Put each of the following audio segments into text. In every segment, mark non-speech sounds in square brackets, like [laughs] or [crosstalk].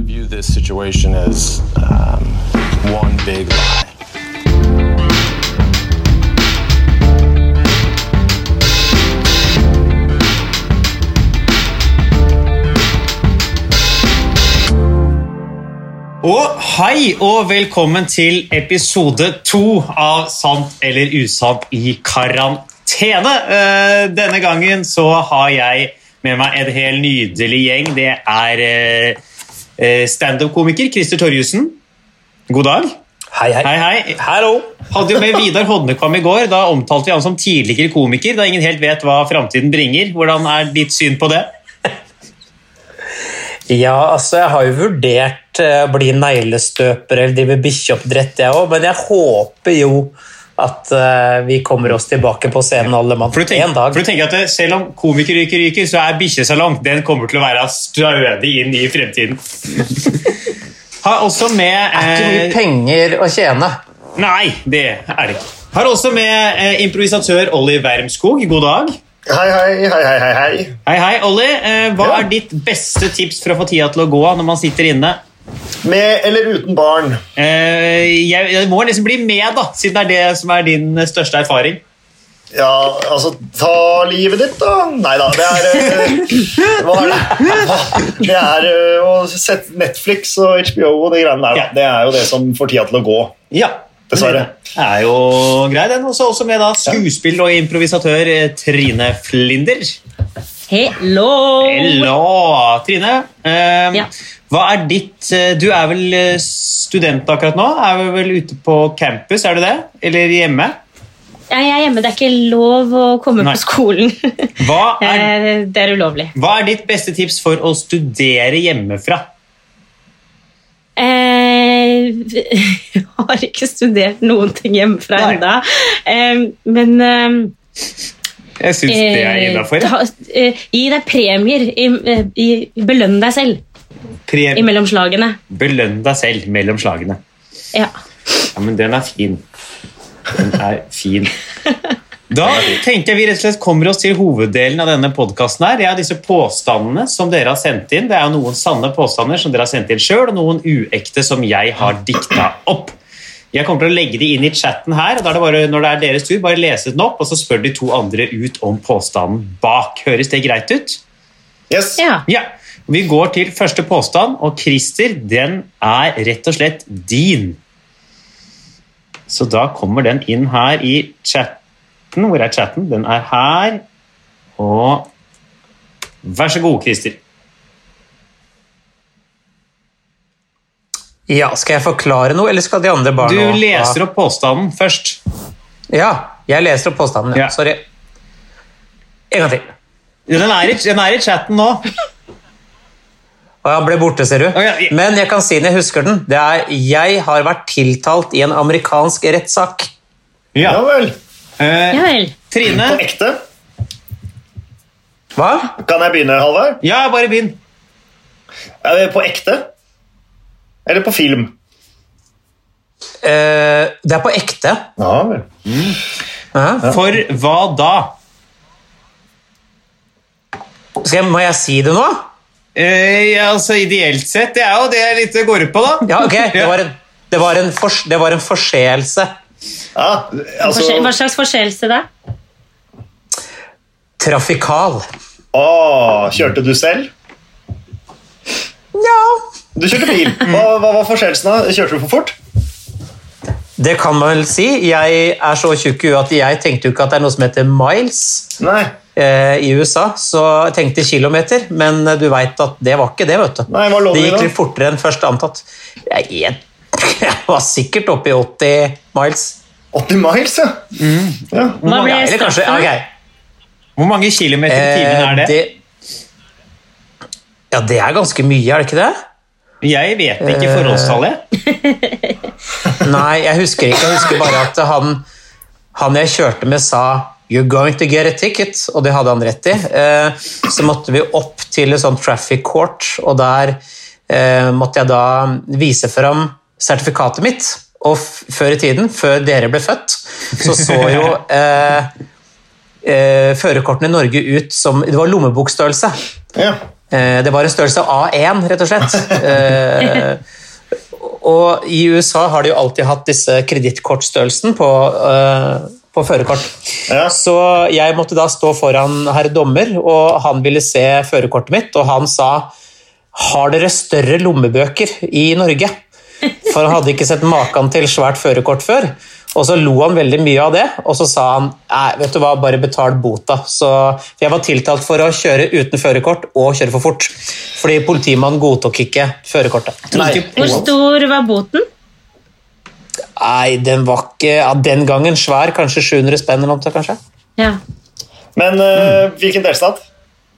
view this situation as um, one big lie. Og hei og velkommen til episode to av Sant eller usant i karantene. Eh, Denne gangen så har jeg med meg en hel nydelig gjeng. Det er eh, eh, standup-komiker Christer Torjussen. God dag. Hei, hei. Hei, hei. Hallo. Hadde jo med Vidar Hodnekvam i går. Da omtalte vi han som tidligere komiker, da ingen helt vet hva framtiden bringer. Hvordan er ditt syn på det? Ja, altså, jeg har jo vurdert eh, å bli neglestøper eller drive bikkjeoppdrett, jeg òg, men jeg håper jo at eh, vi kommer oss tilbake på scenen alle mann For du, tenker, en dag. for du tenker at det, Selv om komikeryrket ryker, så er bikkjesalong den kommer til å være stødig inn i fremtiden. [laughs] Har også med Det er ikke mye eh, penger å tjene. Nei, det er det ikke. Har også med eh, improvisatør Olli Wermskog. God dag. Hei, hei, hei, hei, hei, hei. Hei, hei, Olli. Eh, hva Ja. er ditt beste tips for å få tida til å gå når man sitter inne? Med eller uten barn. Eh, jeg, jeg må nesten bli med, da, siden det er det som er din eh, største erfaring. Ja, altså, ta livet ditt, da. Nei da, det er eh, Hva er det? Hva- Det er eh, å sette Netflix og HBO og de greiene der, da. Ja. Det er jo det som får tida til å gå. Ja, Dessverre. Det er jo grei, den. Også, også med da skuespiller og improvisatør eh, Trine Flinder. Hello! Hello, Trine. Eh, Ja. Hva er ditt eh, Du er vel eh, student akkurat nå? Er vel- vel ute på campus, er du det? Eller hjemme? Nei, Jeg er hjemme, det er ikke lov å komme Nei. på skolen. Hva er, [laughs] Eh, det er ulovlig. hva er ditt beste tips for å studere hjemmefra? Eh, [laughs] jeg har ikke studert noen ting hjemmefra Nei. ennå. Eh, men eh, Jeg syns det er innafor. ta- eh, Gi deg premier. I, eh, i, belønn deg selv imellom slagene. Belønn deg selv mellom slagene. Ja. Ja, men den er fin. Den er fin. Da tenker jeg vi rett og slett kommer oss til hoveddelen av denne podkasten. her. Det er disse påstandene som dere har sendt inn. Det er jo noen sanne påstander som dere har sendt inn sjøl, og noen uekte som jeg har dikta opp. Jeg kommer til å legge de inn i chatten her, og da er det bare, når det er deres tur, bare lese den opp, og så spør de to andre ut om påstanden bak. Høres det greit ut? Yes. ja. Ja. Vi går til første påstand, og Christer, den er rett og slett din. Så da kommer den inn her i chatten. Hvor er chatten? Den er her. Og vær så god, Christer. Ja, Skal jeg forklare noe, eller skal de andre Du barna leser opp påstanden først. Ja, jeg leser opp påstanden. Ja. Ja. Sorry. En gang til. Ja, Den er i, den er i chatten nå. Og han ble borte, ser du. ja, ja. Men jeg kan si den, jeg husker den. Det er 'Jeg har vært tiltalt i en amerikansk rettssak'. Ja. Ja vel. Eh, ja vel. Trine. På ekte. Hva? Kan jeg begynne, Halvard? Ja, bare begynn. Er det På ekte? Eller på film? Eh, det er på ekte. Ja vel. Ja. For hva da? Skal jeg, må jeg si det nå? Eh, ja, altså, ideelt sett. Det er jo det jeg litt går ut på, da. [laughs] Ja, ok. Det var en, det var en, fors, det var en forseelse. Ja, altså Forskjell- Hva slags forseelse da? Trafikal. Å, kjørte du selv? Ja. Du kjørte bil. Hva, hva var forseelsen, da? Kjørte du for fort? Det kan man vel si. Jeg er så tjukk i huet at jeg tenkte jo ikke at det er noe som heter miles Nei. eh, i USA. Så jeg tenkte kilometer, men eh, du veit at det var ikke det, vet du. Nei, hva lå det det i gikk da? litt fortere enn først antatt. Jeg, jeg, [laughs] jeg var sikkert oppe i 80 miles. 80 miles, ja. ja. Hva ble Ja, eller kanskje straffen? ok. Hvor mange kilometer i timen Eh, er det? Ja, det er ganske mye, er det ikke det? Jeg vet Eh, ikke forholdstallet. Nei, jeg husker ikke. Jeg husker bare at han, han jeg kjørte med, sa You're going to get a ticket, og det hadde han rett i. Eh, Så måtte vi opp til en sånn traffic court, og der eh, måtte jeg da vise fram sertifikatet mitt. Og f før i tiden, før dere ble født, så så jo eh, eh, førerkortene i Norge ut som Det var lommebokstørrelse. ja. Eh, Det var en størrelse A1, rett og slett. Eh, Og i USA har de jo alltid hatt disse kredittkortstørrelsen på, eh, på førerkort. Ja. Så jeg måtte da stå foran herr dommer, og han ville se førerkortet mitt, og han sa har dere større lommebøker i Norge? For han hadde ikke sett maken til svært førerkort før. Og så lo han veldig mye av det, og så sa han nei, vet du hva, bare betal bota. Så jeg var tiltalt for å kjøre uten førerkort og kjøre for fort. Fordi politimannen godtok ikke førerkortet. Nei. Hvor stor var boten? Nei, den var ikke ja, Den gangen svær. Kanskje 700 spenn eller noe, kanskje. Ja. Men eh, hvilken delstat?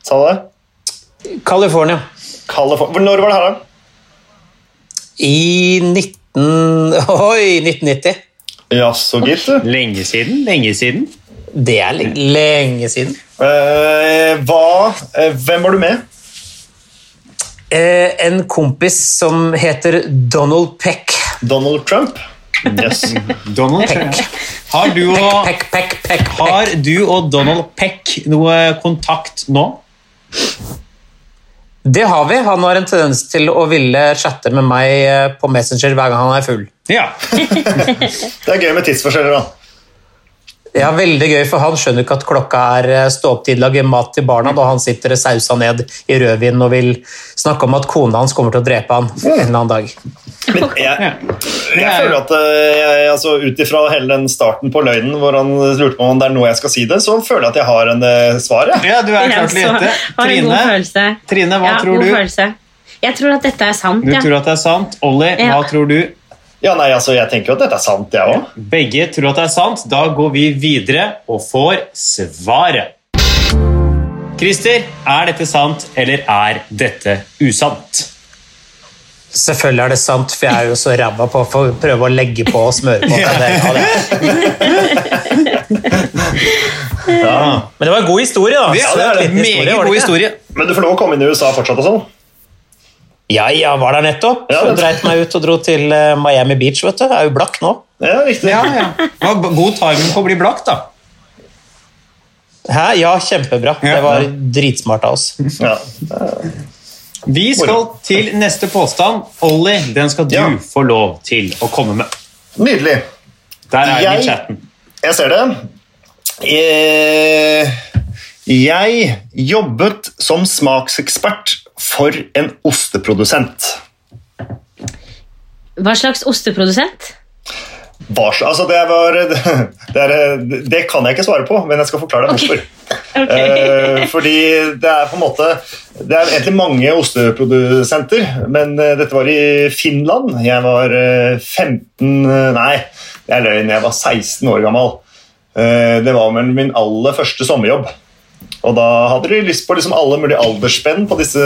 Sa du det? California. Californ- Hvor- Når var det her, da? I 19... Oi, 1990. Jaså, gitt. du. Lenge siden, lenge siden. Det er le- lenge siden. Eh, hva eh, Hvem var du med? Eh, en kompis som heter Donald Peck. Donald Trump? Yes. Donald Trump. Har du og, Peck, Peck, Peck, Peck. har du og Donald Peck noe kontakt nå? Det har vi. Han har en tendens til å ville chatte med meg eh, på Messenger hver gang han er full. Ja. Det er gøy med tidsforskjeller, da. Ja, veldig gøy, for han skjønner ikke at klokka er eh, stå-opp-tid, lage mat til barna, da han sitter sausa ned i rødvin og vil snakke om at kona hans kommer til å drepe han en eller annen dag. Men jeg, ja. jeg føler at eh, jeg, altså, ut ifra hele den starten på løgnen hvor han lurte på om det er nå jeg skal si det, så føler jeg at jeg har en eh, svar. Jeg. ja, du er klar til å Ja, så gjette. Har en god Trine, følelse. Trine, hva ja, tror god du? Følelse. Jeg tror at dette er sant. du ja. tror at det er sant. Olli, hva Ja. tror du? Ja, nei, altså, jeg tenker jo at dette er sant, jeg òg. Begge tror at det er sant. Da går vi videre og får svaret. Christer, er dette sant, eller er dette usant? Selvfølgelig er det sant, for jeg er jo så ræva på å prøve å legge på og smøre på. Det, [laughs] ja, det. Men det var en god historie, da. Ja, det Søt er en liten meget var det god ikke? historie. Men du får lov å komme inn i USA fortsatt og sånn. Ja, ja, var der nettopp. Ja, det- Og dreit meg ut og dro til eh, Miami Beach, vet du. Jeg er jo blakk nå. Ja, riktig. Ja, ja. Det var God timing på å bli blakk, da. Hæ? Ja, kjempebra. Ja. Det var dritsmart av oss. Ja. Vi skal til neste påstand. Olli, den skal du Ja. få lov til å komme med. Nydelig. Der er den Jeg- i chatten. Jeg ser det. Eh, Jeg jobbet som smaksekspert for en osteprodusent. Hva slags osteprodusent? Hva sl- altså det, var, [laughs] det, er, det kan jeg ikke svare på, men jeg skal forklare deg hvorfor. Ok. Eh, fordi det er på en måte Det er egentlig mange osteprodusenter, men eh, dette var i Finland. Jeg var eh, 15 Nei, det er løgn. Jeg var 16 år gammel. Eh, det var vel min aller første sommerjobb. Og da hadde de lyst på liksom alle mulige aldersspenn på disse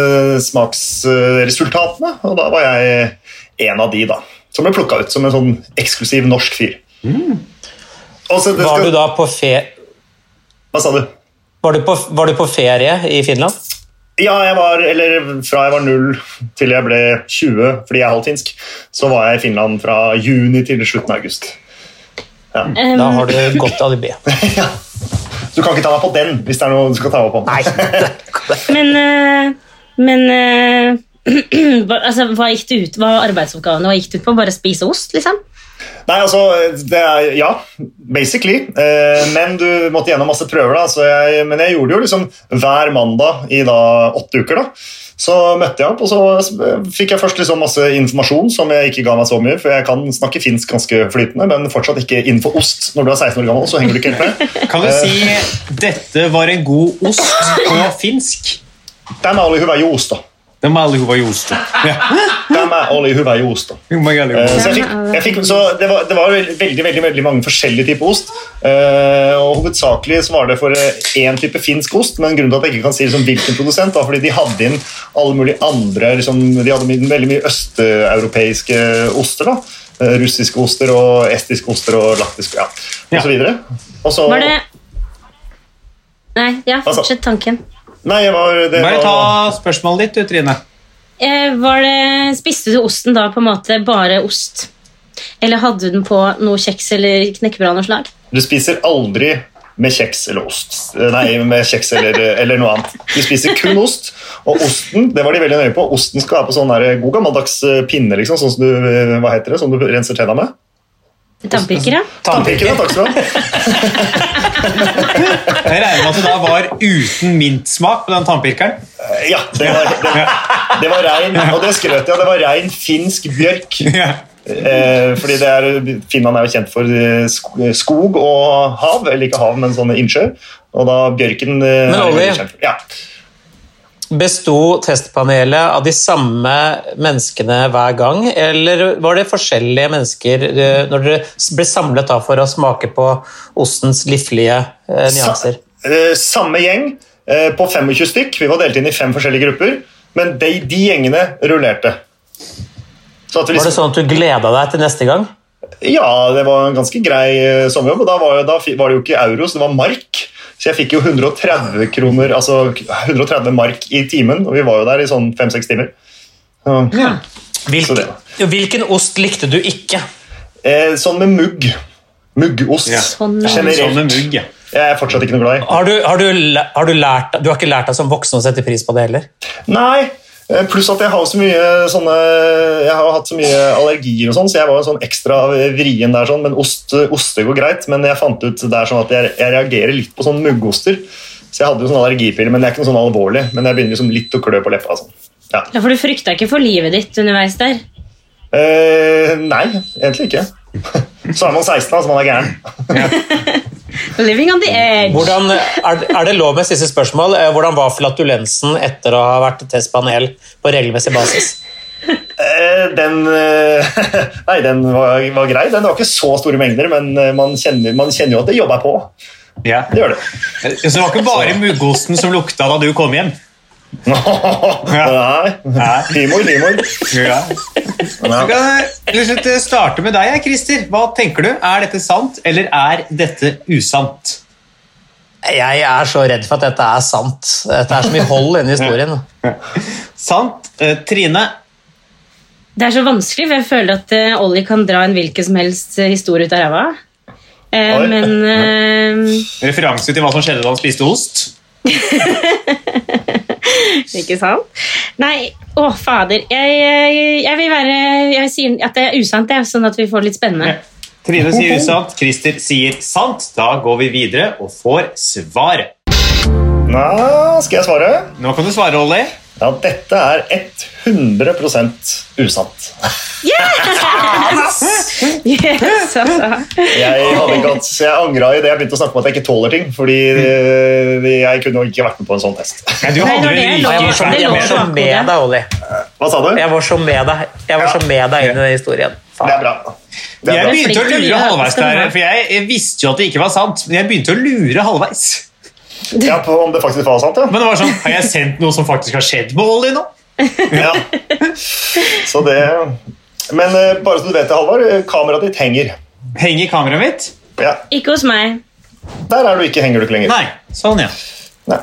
smaksresultatene. Og da var jeg en av de, da. Som ble plukka ut som en sånn eksklusiv norsk fyr. Og så det Mm. Var skal, du da på fe... Hva sa du? Var du på, var du på ferie i Finland? Ja, jeg var, eller fra jeg var null til jeg ble 20, fordi jeg er halvt finsk, så var jeg i Finland fra juni til slutten av august. Um, Da har du godt alibi. Du kan ikke ta meg på den hvis det er noe du skal ta meg på. Nei, Men, eh, men eh, [clears throat] hva- altså, hva gikk det ut Hva var arbeidsoppgavene? Hva gikk det ut på? Bare spise ost, liksom? Nei, altså, det er, ja, basically. Eh, men du måtte gjennom masse prøver, da. Så jeg, men jeg gjorde jo liksom hver mandag i da åtte uker, da. Så møtte jeg opp, og så s- fikk jeg først liksom masse informasjon som jeg ikke ga meg så mye, for jeg kan snakke finsk ganske flytende, men fortsatt ikke innenfor ost. Når du er 16 år gammel, så henger du ikke helt med. Kan du si Eh. 'dette var en god ost' på finsk? Tämä oli hyvä juusto. Det må alle huva joste. Tämä oli hyvä juusto. Eh, Så, jeg fikk, jeg fikk, så det, var, det var vel- veldig veldig, veldig mange forskjellige typer ost. Eh, og Hovedsakelig så var det for eh, én type finsk ost, men grunnen til at jeg ikke kan si liksom, hvilken produsent, var fordi de hadde inn alle mulige andre liksom, De hadde mye- veldig mye østeuropeiske oster. da Eh, Russiske oster og estiske oster og laktiske ja, Ja. osv. Og så Var det Nei, ja, sa- fortsett tanken. Nei, jeg var, det Bare var ta spørsmålet ditt, du, Trine. Eh, var det, spiste du osten da på en måte bare ost? Eller hadde du den på noe kjeks eller knekkebrød av noe slag? Du spiser aldri med kjeks eller ost. Eh, Nei, med kjeks eller, eh, eller noe annet. De spiser kun ost, og osten det var de veldig nøye på, osten skal være på sånn der god gammeldags eh, pinne, liksom, sånn som du, eh, hva heter det, som du renser tenna med. Tannpirkere? Tannpirkere, takk skal du ha. Jeg regner med at det da var uten mintsmak på den tannpirkeren. Eh, Ja, det var, det, var- det var rein, og det skrøt jeg, det var rein finsk bjørk. Ja. Eh, fordi det er, Finland er jo kjent for eh, sk- skog og hav, eller ikke hav, men sånne innsjøer. Og da bjørken eh, Men er jo Olli- veldig kjent for- Ja. Besto testpanelet av de samme menneskene hver gang, eller var det forskjellige mennesker eh, når dere s- ble samlet da for å smake på ostens liflige eh, nyanser? Sa, eh, samme gjeng eh, på 25 stykk. Vi var delt inn i fem forskjellige grupper, men de, de gjengene rullerte. Så at vi Var det liksom, sånn at du gleda deg til neste gang? ja, det var en ganske grei eh, sommerjobb. Og da var, da fi- var det jo ikke euro, så det var mark. Så jeg fikk jo 130 kroner, altså 130 mark i timen, og vi var jo der i sånn fem-seks timer. Så, Mm. Så det Hvilken, hvilken ost likte du ikke? eh, sånn med mugg. Muggost. Ja. Sånn, ja. Sånn med Generelt. mugg, ja. Jeg er fortsatt ikke noe glad i. Har du, har du, læ- har du, lært, du har ikke lært deg som voksen å sette pris på det heller? Nei, eh, pluss at jeg har jo så mye sånne Jeg har jo hatt så mye allergier og sånn, så jeg var jo sånn ekstra vrien der sånn. Men ost, oster går greit. Men jeg fant ut der sånn at jeg, jeg reagerer litt på sånne muggoster. Så jeg hadde jo sånn allergipiller, men det er ikke noe sånn alvorlig. Men jeg begynner liksom litt å klø på leppa. og Sånn. Ja. Ja, For du frykta ikke for livet ditt underveis der? Eh, nei, egentlig ikke. [laughs] Så er man 16, altså. Man er gæren. Living on the edge. Hvordan, er, er det lov med siste spørsmål? Eh, Hvordan var flatulensen etter å ha vært testpanel på regelmessig basis? Eh, den eh, [laughs] Nei, den var, var grei. Den var ikke så store mengder, men eh, man kjenner, man kjenner jo at det jobber på. ja. Det gjør det. Så det var ikke bare muggosten som lukta da du kom hjem? Nei. Nei. Humor, humor. Ja. Så kan jeg til slutt eh, starte med deg, jeg, Christer. Hva tenker du? Er dette sant, eller er dette usant? Jeg er så redd for at dette er sant. Dette er så mye hold inni historien. Sant. Eh, Trine, Det er så vanskelig, for jeg føler at eh, Ollie kan dra en hvilken som helst eh, historie ut av ræva. Eh, Oi. [laughs] men eh, referanse til hva som skjedde da han spiste ost. Ikke sant? Nei, å fader. Jeg, jeg, jeg vil være Jeg sier at det er usant, jeg, sånn at vi får det litt spennende. Trine sier usant, Christer sier sant. Da går vi videre og får svaret. Nå skal jeg svare. Nå kan du svare, Olli. Ja, dette er 100 usant. Yes, altså. Jeg, hadde ikke hatt, jeg angra i det jeg begynte å snakke om at jeg ikke tåler ting. Fordi eh, jeg kunne jo ikke vært med på en sånn test. du Nei, det var det jeg Og jeg var så, Det jeg lå var så bakhodet. med deg, Olli. Hva sa du? Det Jeg var så med deg, jeg var så med deg inn i den historien. er Faen. bra. Det er Jeg bra. begynte å Flink til å lure lure, halvveis skal du der, ha. for jeg jeg visste jo at det ikke var sant. Men jeg begynte å lure halvveis. Ja, på om det faktisk var sant, ja. Men det var sånn, har jeg sendt noe som faktisk har skjedd med Olli nå? ja. Så det Men eh, bare så du vet det, Halvard, eh, kameraet ditt henger. Henger kameraet mitt? Ja, [laughs] Ikke hos meg. Der er du ikke, henger du ikke lenger. Nei. Sånn, ja. Nei.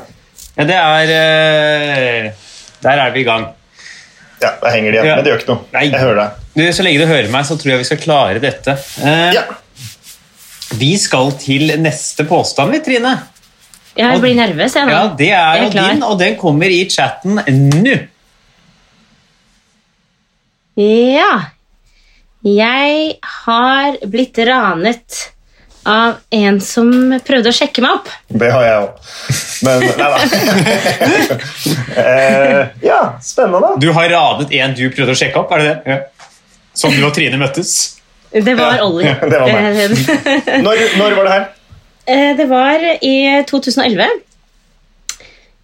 ja det er eh, Der er vi i gang. Ja, Der henger de igjen. Ja. Men det gjør ikke noe. Nei. Jeg hører deg. Du, så lenge du hører meg, så tror jeg vi skal klare dette. Eh, Ja. Vi skal til neste påstand, vi, Trine. Jeg blir nervøs, jeg nå. Ja, Det er Jeg jo er klar. din, og den kommer i chatten nå. Ja. Jeg har blitt ranet av en som prøvde å sjekke meg opp. Det har jeg òg. Men Nei da. Eh, ja, spennende. Du har radet en du prøvde å sjekke opp, er det det? Ja. Som du og Trine møttes. Det var Ollie. [laughs] det var meg. Når, når var det her? Eh, Det var i 2011.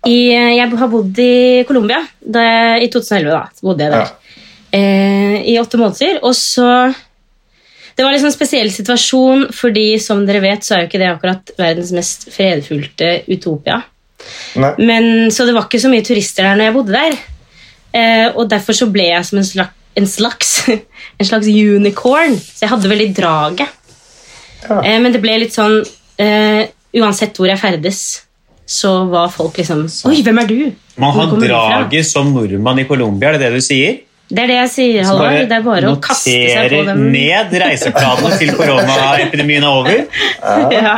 I, jeg har bodd i Colombia. Da- I 2011 da, så bodde jeg der eh, i åtte måneder. Og så Det var liksom en spesiell situasjon, fordi som dere vet, så er jo ikke det akkurat verdens mest fredfullte utopia. Nei. Men, så det var ikke så mye turister der når jeg bodde der. Eh, og derfor så ble jeg som en slags, en slags, [laughs] en slags unicorn. Så jeg hadde veldig draget. Eh, men det ble litt sånn eh, Uansett hvor jeg ferdes, så var folk liksom Oi, hvem er du? Man Hvor har kommer du fra?» draget som nordmann i Colombia, er det det du sier? Det er det jeg sier, Så Halvor. Det er bare å kaste seg på noterer dem. ned reiseplanene til koronaepidemien er over. [laughs] Ja.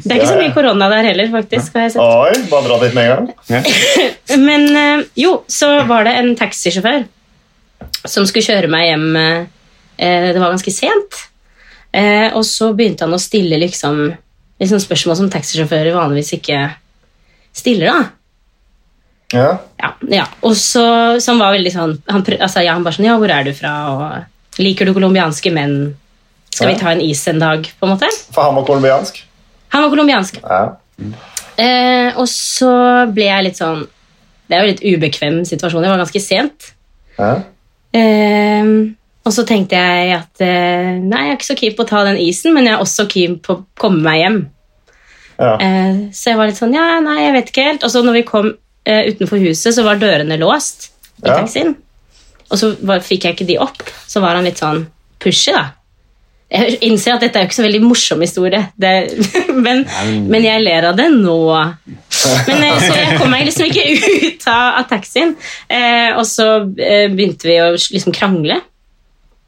Det er ikke så mye korona der heller, faktisk. Har jeg sett. Oi, bare dra dit med en gang. Men eh, jo, så var det en taxisjåfør som skulle kjøre meg hjem. eh, eh, Det var ganske sent. Eh, Og så begynte han å stille liksom, liksom spørsmål som taxisjåfører vanligvis ikke stiller. da. Ja. ja, ja. Og så, så han var veldig sånn han, prøv, altså, ja, han bare sånn, ja, hvor er du fra? Og liker du colombianske menn? Skal Ja. vi ta en is en dag, på en måte? For han var colombiansk. Han var colombiansk. Ja. Eh, og så ble jeg litt sånn Det er jo litt ubekvem situasjon. Det var ganske sent. Ja. Eh, og så tenkte jeg at eh, nei, jeg er ikke så keen på å ta den isen, men jeg er også keen på å komme meg hjem. Ja. Eh, så jeg var litt sånn Ja, nei, jeg vet ikke helt. Og så når vi kom eh, utenfor huset, så var dørene låst i Ja. taxien. Og så var, fikk jeg ikke de opp. Så var han litt sånn pushy, da. Jeg innser at dette er jo ikke så veldig morsom historie, det, [laughs] men, men jeg ler av det nå. Men eh, Så jeg kom meg liksom ikke ut av, av taxien. Eh, og så eh, begynte vi å liksom krangle.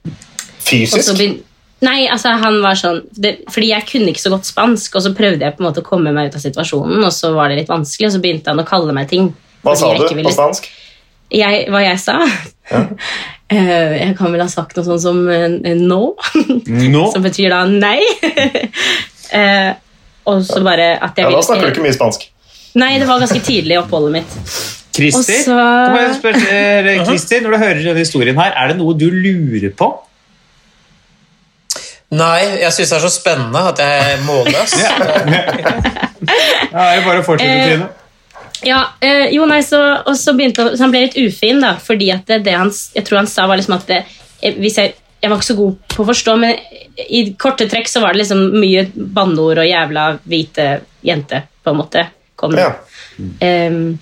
Og så Fysisk? begyn- Nei, altså han var sånn det, Fordi jeg kunne ikke så godt spansk, og så prøvde jeg på en måte å komme meg ut av situasjonen, og så var det litt vanskelig, og så begynte han å kalle meg ting. Hva fordi sa jeg du ikke ville- på spansk? Jeg, hva jeg sa? [laughs] Eh, jeg kan vel ha sagt noe sånt som eh, no, Nå [laughs] som betyr da nei. [laughs] Eh, og så bare at jeg Ja, vil da snakker du ikke mye spansk. Nei, det var ganske tidlig i oppholdet mitt. Christer, Og så- Uh-huh. kan jeg spørre, eh, Christer, når du hører denne historien her, er det noe du lurer på? Nei, jeg syns det er så spennende at jeg er målløs. Ja, det er jo bare å fortsette, Eh, Trine. Ja, eh, jo nei, så, og så begynte han, så han ble litt ufin, da, fordi at det, det han, s- jeg tror han sa var liksom at det, eh, hvis jeg, jeg var ikke så god på å forstå, men i korte trekk så var det liksom mye banneord og jævla hvite jente, på en måte. Kom. Ja. Ehm,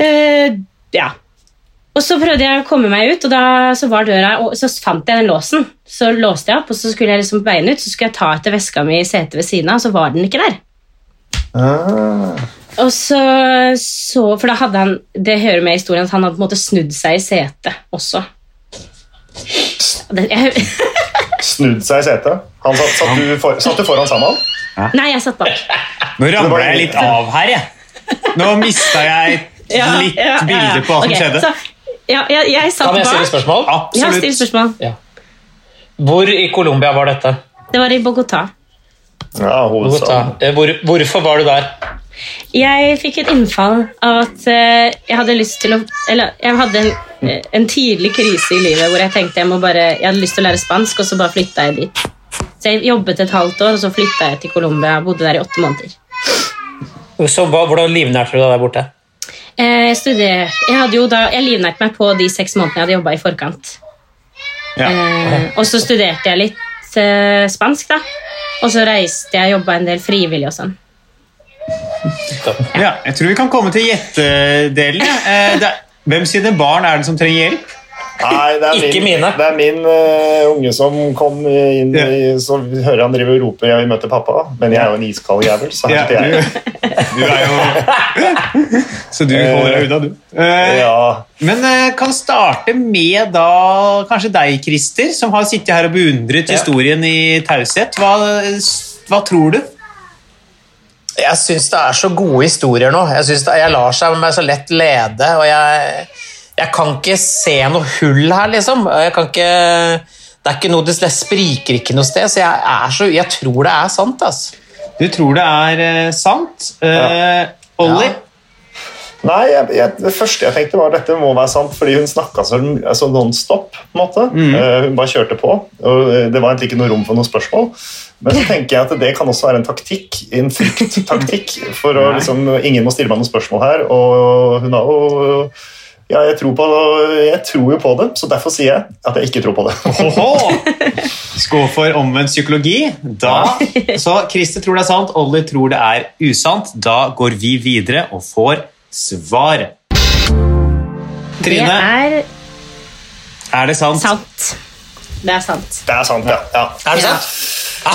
eh, ja. Og så prøvde jeg å komme meg ut, og da så var døra, og så fant jeg den låsen. Så låste jeg opp, og så skulle jeg liksom på veien ut, så skulle jeg ta etter veska mi i setet ved siden av, og så var den ikke der. Ah. Og så, så For da hadde han Det hører med i historien at han hadde på en måte snudd seg i setet også. Det, jeg, Snudd seg i setet. Han satt, satt, du for, satt du foran sammen? nei, jeg satt bak. Nå ramler jeg litt av her, jeg. Nå mista jeg [laughs] Ja, litt ja, ja, ja. bilde på hva Ok, som skjedde. Så, ja, jeg, jeg satt Kan jeg stille et bak. spørsmål? Ja, still Absolutt. spørsmål. Hvor i Colombia var dette? Det var i Bogotá. Ja, Altså- hovedstaden. Bogotá. Eh, Hvor, hvorfor var du der? Jeg fikk et innfall av at eh, jeg hadde lyst til å Eller jeg hadde en, eh, en tidlig krise i livet hvor jeg tenkte jeg må bare Jeg hadde lyst til å lære spansk, og så bare flytta jeg dit. Så jeg jobbet et halvt år, og så flytta jeg til Colombia. Jeg Bodde der i åtte måneder. Så hva, Hvordan livnærte du deg der borte? Eh, Jeg studerer. Jeg, hadde jo da, jeg livnærte meg på de seks månedene jeg hadde jobba i forkant. Ja. Eh, og så studerte jeg litt eh, spansk, da. Og så reiste jeg og jobba en del frivillig og sånn. Ja, jeg tror vi kan komme til gjettedelen. ja. Eh, det er- Hvem sine barn er det som trenger hjelp? Nei, det er Ikke min, mine. Det er min eh, unge som kom inn Ja. i, Så hører han driver og roper 'jeg vil møte pappa', men jeg er jo en iskald jævel, så her Ja, sitter du, jeg. [laughs] du er jo [laughs] Så du holder deg unna, du. Eh, Ja, Men eh, kan starte med da kanskje deg, Christer, som har sittet her og beundret Ja. historien i taushet. Hva, s- hva tror du? Jeg syns det er så gode historier nå. Jeg, synes det, jeg lar seg meg så lett lede. og jeg, jeg kan ikke se noe hull her, liksom. Jeg kan ikke, det er ikke noe, det, det spriker ikke noe sted, så jeg, er så, jeg tror det er sant. Altså. Du tror det er eh, sant? Eh, Olli? Ja. Nei, jeg, jeg, det første jeg tenkte var dette må være sant, fordi hun snakka så altså nonstop. på en måte. Eh, hun bare kjørte på. og eh, Det var egentlig ikke noe rom for noen spørsmål. Men så tenker jeg at det kan også være en taktikk, en frykttaktikk. For å, liksom, ingen må stille meg noen spørsmål her. Og hun har jo Ja, jeg tror, på, jeg tror jo på det, så derfor sier jeg at jeg ikke tror på det. Oho! Skål for omvendt psykologi. Da, så Christer tror det er sant, Olli tror det er usant. Da går vi videre og får svaret. Det Trine, er er det sant? sant. Det er sant. Det er sant, ja. ja. Er det Ja. sant?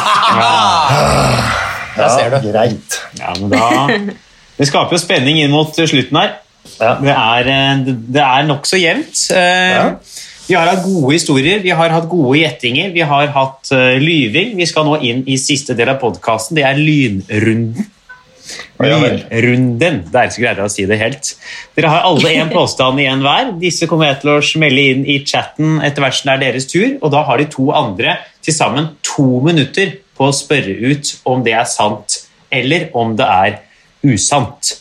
Der ser du. Ja, greit. Ja, men da... Det skaper jo spenning inn mot slutten her. Ja. Det er, eh, det er nokså jevnt. Eh, Ja. Vi har hatt gode historier, vi har hatt gode gjettinger, vi har hatt eh, lyving. Vi skal nå inn i siste del av podkasten. Det er lynrunden. Ja vel. Lynrunden. Det er ikke så greit å si det helt. Dere har alle [laughs] én påstand igjen hver. Disse kommer jeg til å smelle inn i chatten etter hvert som det er deres tur, og da har de to andre til sammen to minutter på å spørre ut om det er sant, eller om det er usant.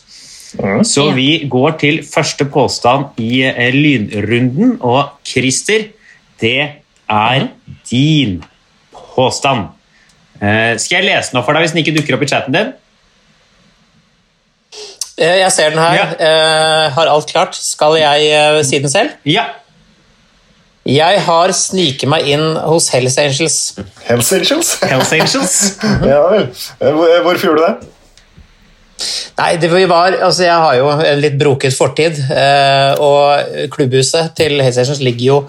Mm. Så vi går til første påstand i eh, lynrunden, og Christer, det er din påstand. Eh, Skal jeg lese den opp for deg hvis den ikke dukker opp i chatten din? Eh, Jeg ser den her. Eh, har alt klart. Skal jeg eh, si den selv? Ja. Jeg har sniket meg inn hos Hells Angels. Hells Angels? Hells Angels. ja vel. Eh, hvor- Hvorfor gjorde du det? Nei, det var, altså jeg har jo en litt broket fortid, eh, og klubbhuset til Hells Angels ligger jo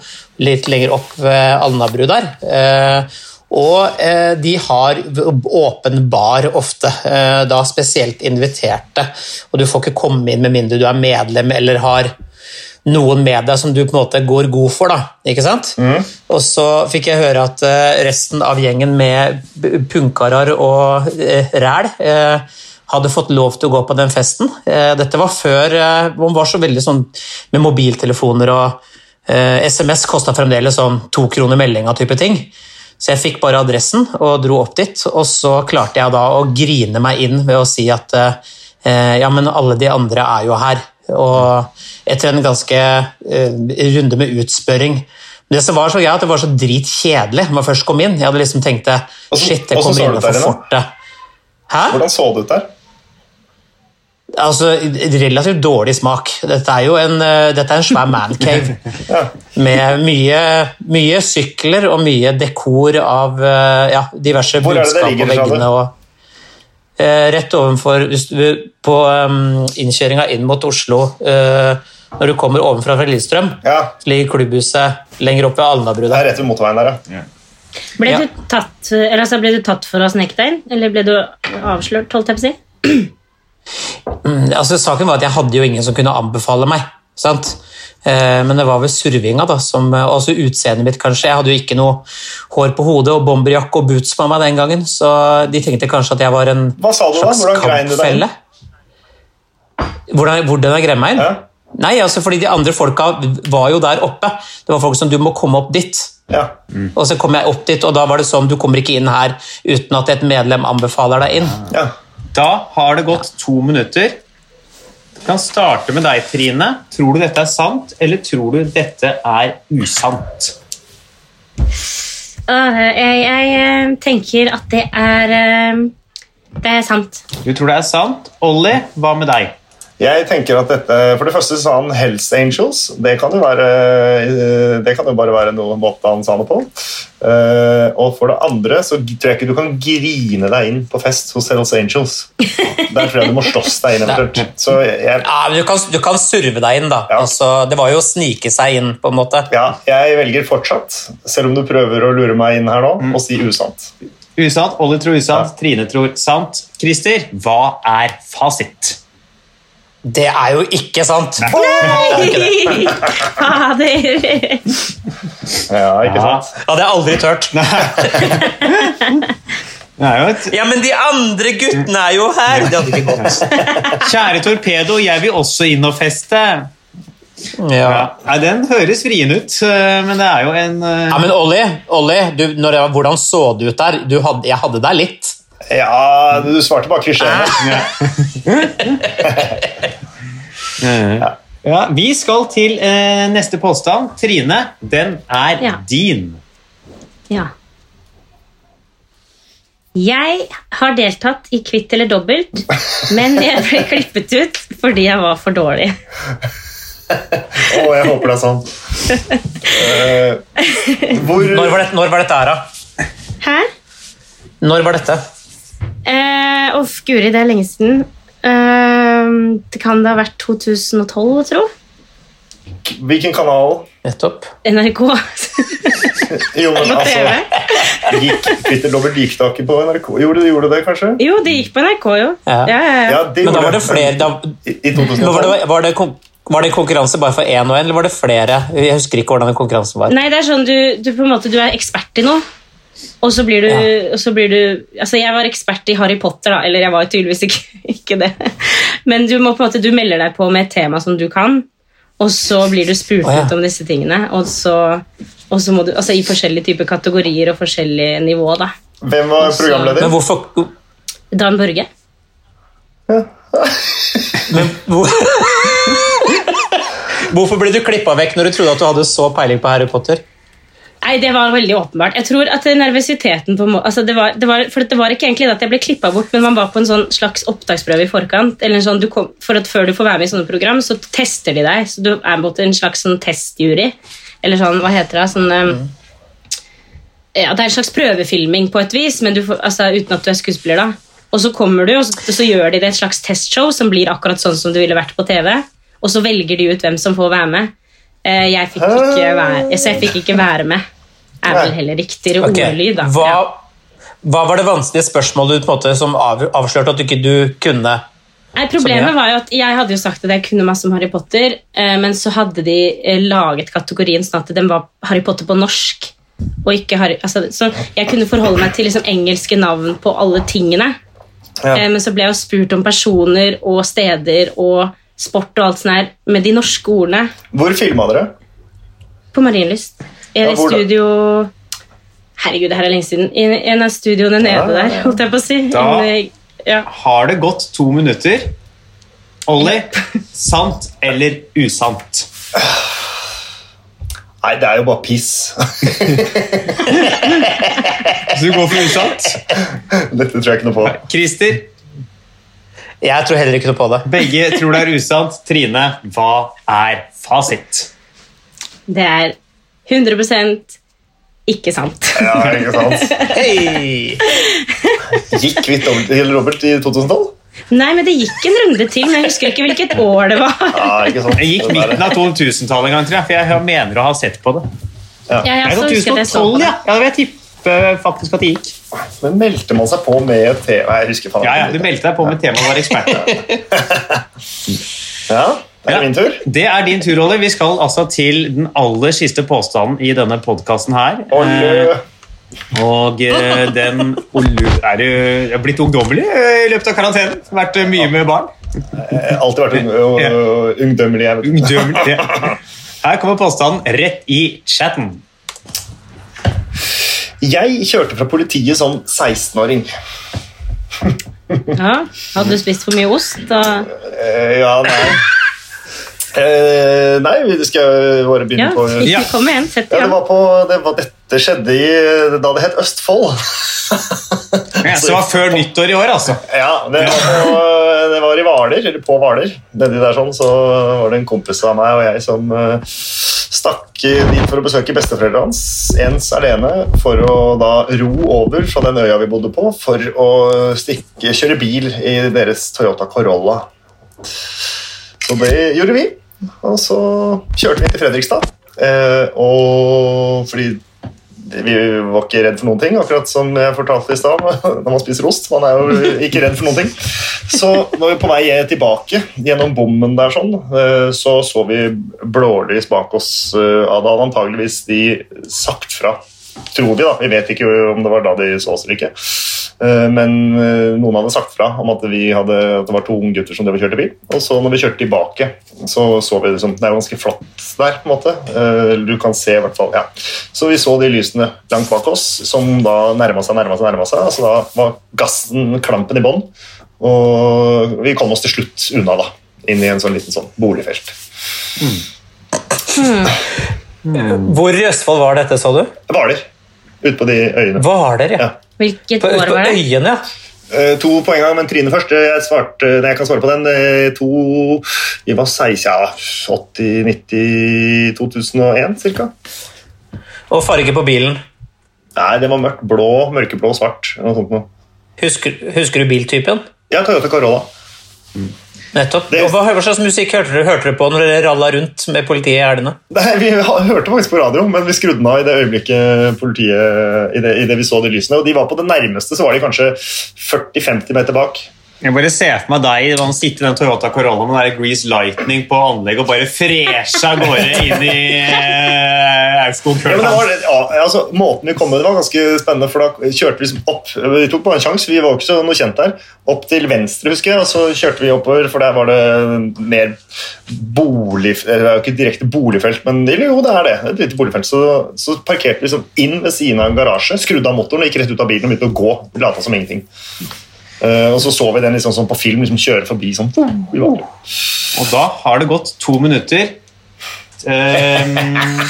litt lenger opp ved Alnabru der. Eh, og eh, de har v- åpen bar ofte, eh, da spesielt inviterte. Og du får ikke komme inn med mindre du er medlem eller har noen med deg som du på en måte går god for, da. Ikke sant? Og så fikk jeg høre at eh, resten av gjengen med b- punkarer og eh, ræl eh, hadde fått lov til å gå på den festen. Eh, Dette var før eh, Man var så veldig sånn med mobiltelefoner og eh, SMS kosta fremdeles sånn to kroner meldinga type ting. Så jeg fikk bare adressen og dro opp dit, og så klarte jeg da å grine meg inn ved å si at eh, ja, men alle de andre er jo her. Og etter en ganske eh, runde med utspørring. Det som var så gøy, at det var så dritkjedelig når man først kom inn. Jeg hadde liksom tenkt det, Hvordan- shit, jeg hvordan så kommer du inn ut der for inne? fortet. Hæ? Hvordan så det ut der? Altså, relativt dårlig smak. Dette er jo en, eh, dette er en svær [laughs] mancave. Med mye, mye sykler og mye dekor av eh, ja, diverse Hvor er det det budskap på ligger, sa du? veggene. Og, eh, rett ovenfor hvis du- På um, innkjøringa inn mot Oslo, eh, når du kommer ovenfra fra Lillestrøm, Ja. ligger klubbhuset lenger oppe ved Alnabru. Det der. er rett ved motorveien der, ja. Ble, Ja. du tatt, eller, altså, ble du tatt for å ha sneket deg inn? Eller ble du avslørt? holdt jeg på å si? Mm, Altså, saken var at jeg hadde jo ingen som kunne anbefale meg. Sant? Eh, Men det var vel survinga, da. Som, eh, også utseendet mitt, kanskje. Jeg hadde jo ikke noe hår på hodet og bomberjakke og boots på meg den gangen, så de tenkte kanskje at jeg var en Hva sa du da? slags Hvordan grein du deg inn? kampfelle. Hvordan, hvordan jeg grein meg inn? Ja. Nei, altså fordi de andre folka var jo der oppe. Det var folk som Du må komme opp dit. ja. Og så kom jeg opp dit, og da var det sånn Du kommer ikke inn her uten at et medlem anbefaler deg inn. ja. Da har det gått to minutter. Du kan starte med deg, Trine. Tror du dette er sant, eller tror du dette er usant? Åh, Ah, jeg, jeg eh, tenker at det er eh, Det er sant. Du tror det er sant. Olli, hva med deg? Jeg tenker at dette, For det første sa han Hells Angels. Det kan jo, være, eh, det kan jo bare være noe måte han sa det på. Eh, Og for det andre så tror jeg ikke du kan grine deg inn på fest hos Hells Angels. Der tror jeg du må slåss deg inn [laughs] eventuelt. Så jeg, Ja, men du kan, du kan surve deg inn, da. Ja. Altså, det var jo å snike seg inn, på en måte. ja, jeg velger fortsatt, selv om du prøver å lure meg inn her nå, å si usant. Usant. Olli tror usant. Trine tror sant. Christer, hva er fasit? Det er jo ikke sant! [laughs] Fader! Ja, ikke Ja. sant? Hadde jeg aldri tørt. Det er jo et Ja, men de andre guttene er jo her! Det hadde ikke gått. Kjære torpedo, jeg vil også inn og feste. Ja. Ja. Nei, den høres vrien ut, eh, men det er jo en eh, Ja, men Olli, Olli du, når jeg, hvordan så det ut der? Du hadde, jeg hadde deg litt. Ja, du svarte bare klisjeene. Ah. ja. Vi skal til eh, neste påstand. Trine, den er Ja. din. Ja. Jeg har deltatt i Kvitt eller dobbelt, men jeg ble klippet ut fordi jeg var for dårlig. Å, jeg håper det er sånn. Eh, hvor Når var, dette, når var dette her, da? Hæ? Når var dette? Eh, Uff, guri, det er lenge siden. Eh, det kan det ha vært 2012, tro? Hvilken kanal? Nettopp. [laughs] NRK. Jo, men På TV. altså gikk, Twitter dobbelt gikk tak i på NRK. Gjorde det, gjorde det kanskje? Jo, det gikk på NRK, jo. Ja. Ja, ja, ja. Ja, det Men da gjorde var det flere da, I, i men 2012. var, det, var, det, kom- Var det konkurranse bare for én og én, eller var det flere? Jeg husker ikke hvordan den konkurransen var. Nei, det er sånn du, du på en måte du er ekspert i noe. Og så blir du, og så blir du Altså, jeg var ekspert i Harry Potter, da. Eller jeg var tydeligvis ikke, [laughs] ikke det. Men du må på en måte Du melder deg på med et tema som du kan, og så blir du spurt Å, ja. ut om disse tingene. Og så, og så må du Altså i forskjellige typer kategorier og forskjellig nivå, da. Hvem var programleder? Men hvorfor Dan Børge. men, hvor, Hvorfor ble du klippa vekk når du trodde at du hadde så peiling på Harry Potter? Nei, det var veldig åpenbart. Jeg tror at nervøsiteten på en må- altså det var, det var, For det var ikke egentlig det at jeg ble klippa bort, men man var på en sånn slags opptaksprøve i forkant. eller en sånn, du kom, for at Før du får være med i sånne program, så tester de deg. så Du er på en måte en slags sånn testjury. Eller sånn, hva heter det? Sånn, eh, ja, det er en slags prøvefilming på et vis, men du får, altså, uten at du er skuespiller. da. Og så kommer du, og så, så gjør de det et slags testshow som blir akkurat sånn som du ville vært på TV. Og så velger de ut hvem som får være med. Eh, jeg fikk ikke være, så jeg fikk ikke være med. Er vel heller riktigere Ok, ordlyd, da. Hva, Ja. hva var det vanskelige spørsmålet du, på en måte, som av, avslørte at du ikke du kunne? Nei, Problemet Sånn, Som jeg. var jo at jeg hadde jo sagt at jeg kunne masse om Harry Potter, eh, men så hadde de eh, laget kategorien sånn at den var Harry Potter på norsk. Og ikke Harry, altså, så jeg kunne forholde meg til liksom, engelske navn på alle tingene. Eh, men så ble jeg jo spurt om personer og steder og sport og alt sånt her med de norske ordene Hvor filma dere? på Marienlyst. I Ja, det hvor da? studio Herregud, det her er lenge siden. I en av studioene nede Ja, ja, ja. der, holdt jeg på å si. Da- En, eh, ja. Har det gått to minutter? Olli, [laughs] sant eller usant? Nei, det er jo bare piss. [laughs] Så du går for usant? Dette tror jeg ikke noe på. Christer, Jeg tror heller ikke noe på det. begge tror det er usant. Trine, hva er fasit? Det er 100 ikke sant. Ja, ikke sant? Hei! Gikk kvitt over til Robert i 2012? Nei, men det gikk en runde til, men jeg husker ikke hvilket år det var. Ja, ikke sant? Jeg gikk Det der- midten av 2000-tallet en gang, tror jeg, for jeg mener å ha sett på det. Ja, ja, Jeg så tror husker jeg det jeg så 2012, på det. ja. ja. Jeg tipper faktisk at det gikk. Men meldte man seg på med et tema? Nei, Jeg husker faen Ja, ja, ikke. Du meldte deg på med temaet å være ekspert. Ja, det er Ja. min tur. Det er din tur, Olli. Vi skal altså til den aller siste påstanden i denne podkasten her. Olje. Eh, Og eh, den Ollu er jo er blitt ungdommelig eh, i løpet av karantenen. Vært eh, mye med barn. Jeg har alltid vært ung, og- Ja. og ungdømmelig. Jeg vet. Ungdommelig. [laughs] ja. Her kommer påstanden rett i chatten. Jeg kjørte fra politiet som 16-åring. Ja, Hadde du spist for mye ost? Og... Eh, ja, [laughs] nei. Eh, nei, vi skal bare Ja, begynne på ikke Ja. kom igjen. Sett i ja, det gang. var på, det var, Dette skjedde i, da det het Østfold. [laughs] Ja, så det var før nyttår i år, altså. Ja, det var, på, det var i Hvaler, eller på Hvaler. Nedi der sånn, så var det en kompis av meg og jeg som eh, stakk dit for å besøke besteforeldrene hans, ens alene, for å da ro over fra den øya vi bodde på, for å stikke, kjøre bil i deres Toyota Corolla. Så det gjorde vi, og så kjørte vi til Fredrikstad. eh, Og fordi vi var ikke redd for noen ting, akkurat som jeg fortalte i stad. [laughs] Når man spiser ost, man er jo ikke redd for noen ting. Så når vi på vei tilbake gjennom bommen der, sånn, eh, så så vi blålys bak oss. eh, Ja, da hadde antageligvis de sagt fra. Tror vi, da. Vi vet ikke om det var da de så oss eller ikke. Eh, Men eh, noen hadde sagt fra om at, vi hadde, at det var to unge gutter som drev og kjørte bil. Og så når vi kjørte tilbake, så så vi liksom, det er jo ganske flott der. på en måte. Eh, Du kan se i hvert fall, ja. Så vi så de lysene langt bak oss, som da nærma seg, nærma seg, nærma seg. Så da var gassen, klampen i bånn. Og vi kom oss til slutt unna, da. Inn i en sånn liten sånn boligfelt. Hvor i Østfold var dette, sa du? Hvaler. Ute på de øyene. Hvaler, ja. Ja. Hvilket På, år på var det? øyene, ja. Eh, To på en gang, men Trine først. Eh, Jeg, svarte, nei, jeg kan svare på den. Eh, To Vi var 16, ja, 80, 90, 2001 ca. Og farge på bilen. Nei, det var mørkt blå, mørkeblå, svart. eller Noe sånt noe. Husker, husker du biltypen? Ja, Toyota Corolla. Nettopp. Det- Og hva, hva slags musikk hørte dere, hørte dere på når dere ralla rundt med politiet i helgene? Nei, Vi [laughs] ha- hørte faktisk på radio, men vi skrudde den av i det øyeblikket politiet, i det, i det vi så de lysene. Og de var på det nærmeste, så var de kanskje 40-50 meter bak. Jeg bare ser for meg deg man sitter i den Toyota Corolla med den der Grease Lightning på anlegget og bare fresha av gårde inn i eh, Aurskog Ja, men det Curl. var, ja, altså, måten vi kom med, det var ganske spennende, for da kjørte vi liksom opp. Vi tok bare en sjanse, vi var jo ikke så noe kjent der. Opp til venstre, husker jeg, og så kjørte vi oppover, for der var det mer bolig... eller Det er jo ikke direkte boligfelt, men eller, jo, det er det. Et lite boligfelt. Så, så parkerte vi liksom inn ved siden av en garasje, skrudde av motoren og gikk rett ut av bilen og begynte å gå. Lata som ingenting. Eh, og så så vi den liksom sånn på film liksom kjøre forbi sånn. Vi var- Og da har det gått to minutter. Ehm,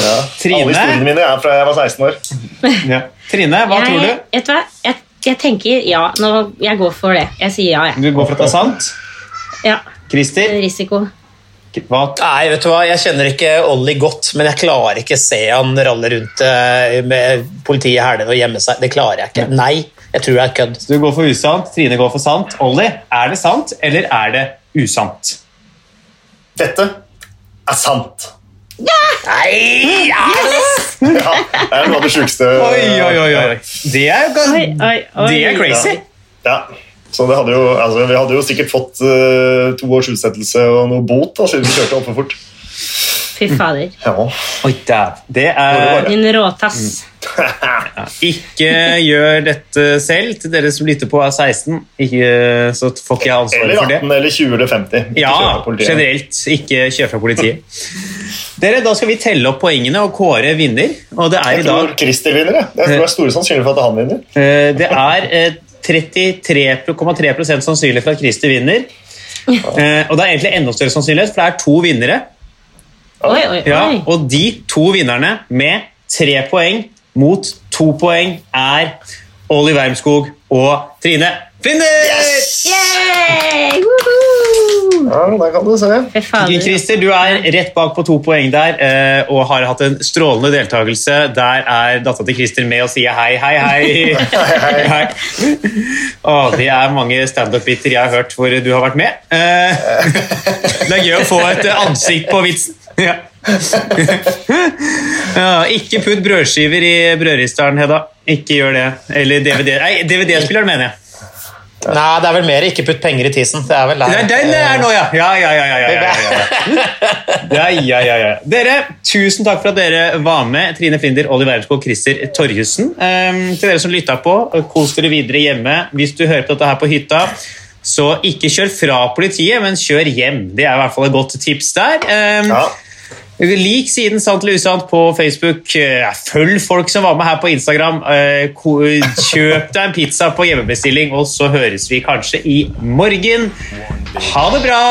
Ja. Trine? Alle historiene mine er fra jeg var 16 år. ja. Trine, hva tror jeg, du? vet du hva? Jeg, jeg tenker ja. Nå, jeg går for det. Jeg sier ja, jeg. Du går for at det er sant. Ja, Christer, Risiko. hva Nei, vet du hva, jeg kjenner ikke Olli godt, men jeg klarer ikke se han ralle rundt eh, med politiet i hælen og gjemme seg. Det klarer jeg ikke. Nei, jeg tror det er kødd. du går for usant, Trine går for sant. Olli, er det sant, eller er det usant? Dette er sant. Nei! Ja. Ja, det er noe av det sjukeste. Oi, oi, oi, oi. Det er jo Oi, gan- oi, oi. Det er crazy. Ja. Så det hadde jo, altså, vi hadde jo sikkert fått eh, to års utsettelse og noe bot da, siden vi kjørte opp for fort. Fy fader. Ja. Oi, dæv. Det er Din råtass. Mm. Ikke gjør dette selv. Til dere som lytter på er 16, ikke, eh, så får ikke jeg ansvaret Eller for det. 18 eller 20 eller 50. Ikke Ja, kjøre politiet. generelt. Ikke kjør fra politiet. Dere, Da skal vi telle opp poengene og kåre vinner. Og det er Jeg i dag tror Christer vinner. Jeg. jeg tror det er store sannsynlig for at han vinner. eh, Det er eh, 33,3 sannsynlig for at Christer vinner. Eh, Og det er egentlig enda større sannsynlighet, for det er to vinnere. Oi, oi, Ja, oi. og de to vinnerne med tre poeng mot to poeng er Olli Wermskog og Trine Finder! Yay! Woohoo! Ja, der kan du se. Fy fader. Christer, du er rett bak på to poeng der eh, og har hatt en strålende deltakelse. Der er dattera til Christer med og sier hei, hei, hei. hei. [laughs] Å, det er mange standup-biter jeg har hørt hvor du har vært med. Eh, [laughs] det er gøy å få et eh, ansikt på vitsen. [laughs] Ja. ja, ikke putt brødskiver i brødristeren, Hedda. Ikke gjør det. Eller DVD. Nei, DVD-spilleren, mener jeg. Nei, det er vel mer ikke putt penger i tisen. Det er vel der. Det er den det er nå, ja! Ja, ja, ja. ja, ja, [laughs] ja, ja, ja. ja, ja, ja, ja. Dere, tusen takk for at dere var med. Trine Flinder, Oliver Ermskog, Christer Torjussen. Ehm, til dere som lytta på, kos dere videre hjemme. Hvis du hører på dette her på hytta, så ikke kjør fra politiet, men kjør hjem. Det er i hvert fall et godt tips der. Ehm, Ja. Lik siden Sant eller usant på Facebook. Eh, Følg folk som var med her på Instagram. Eh, ko- Kjøp deg en pizza på hjemmebestilling, og så høres vi kanskje i morgen. Ha det bra!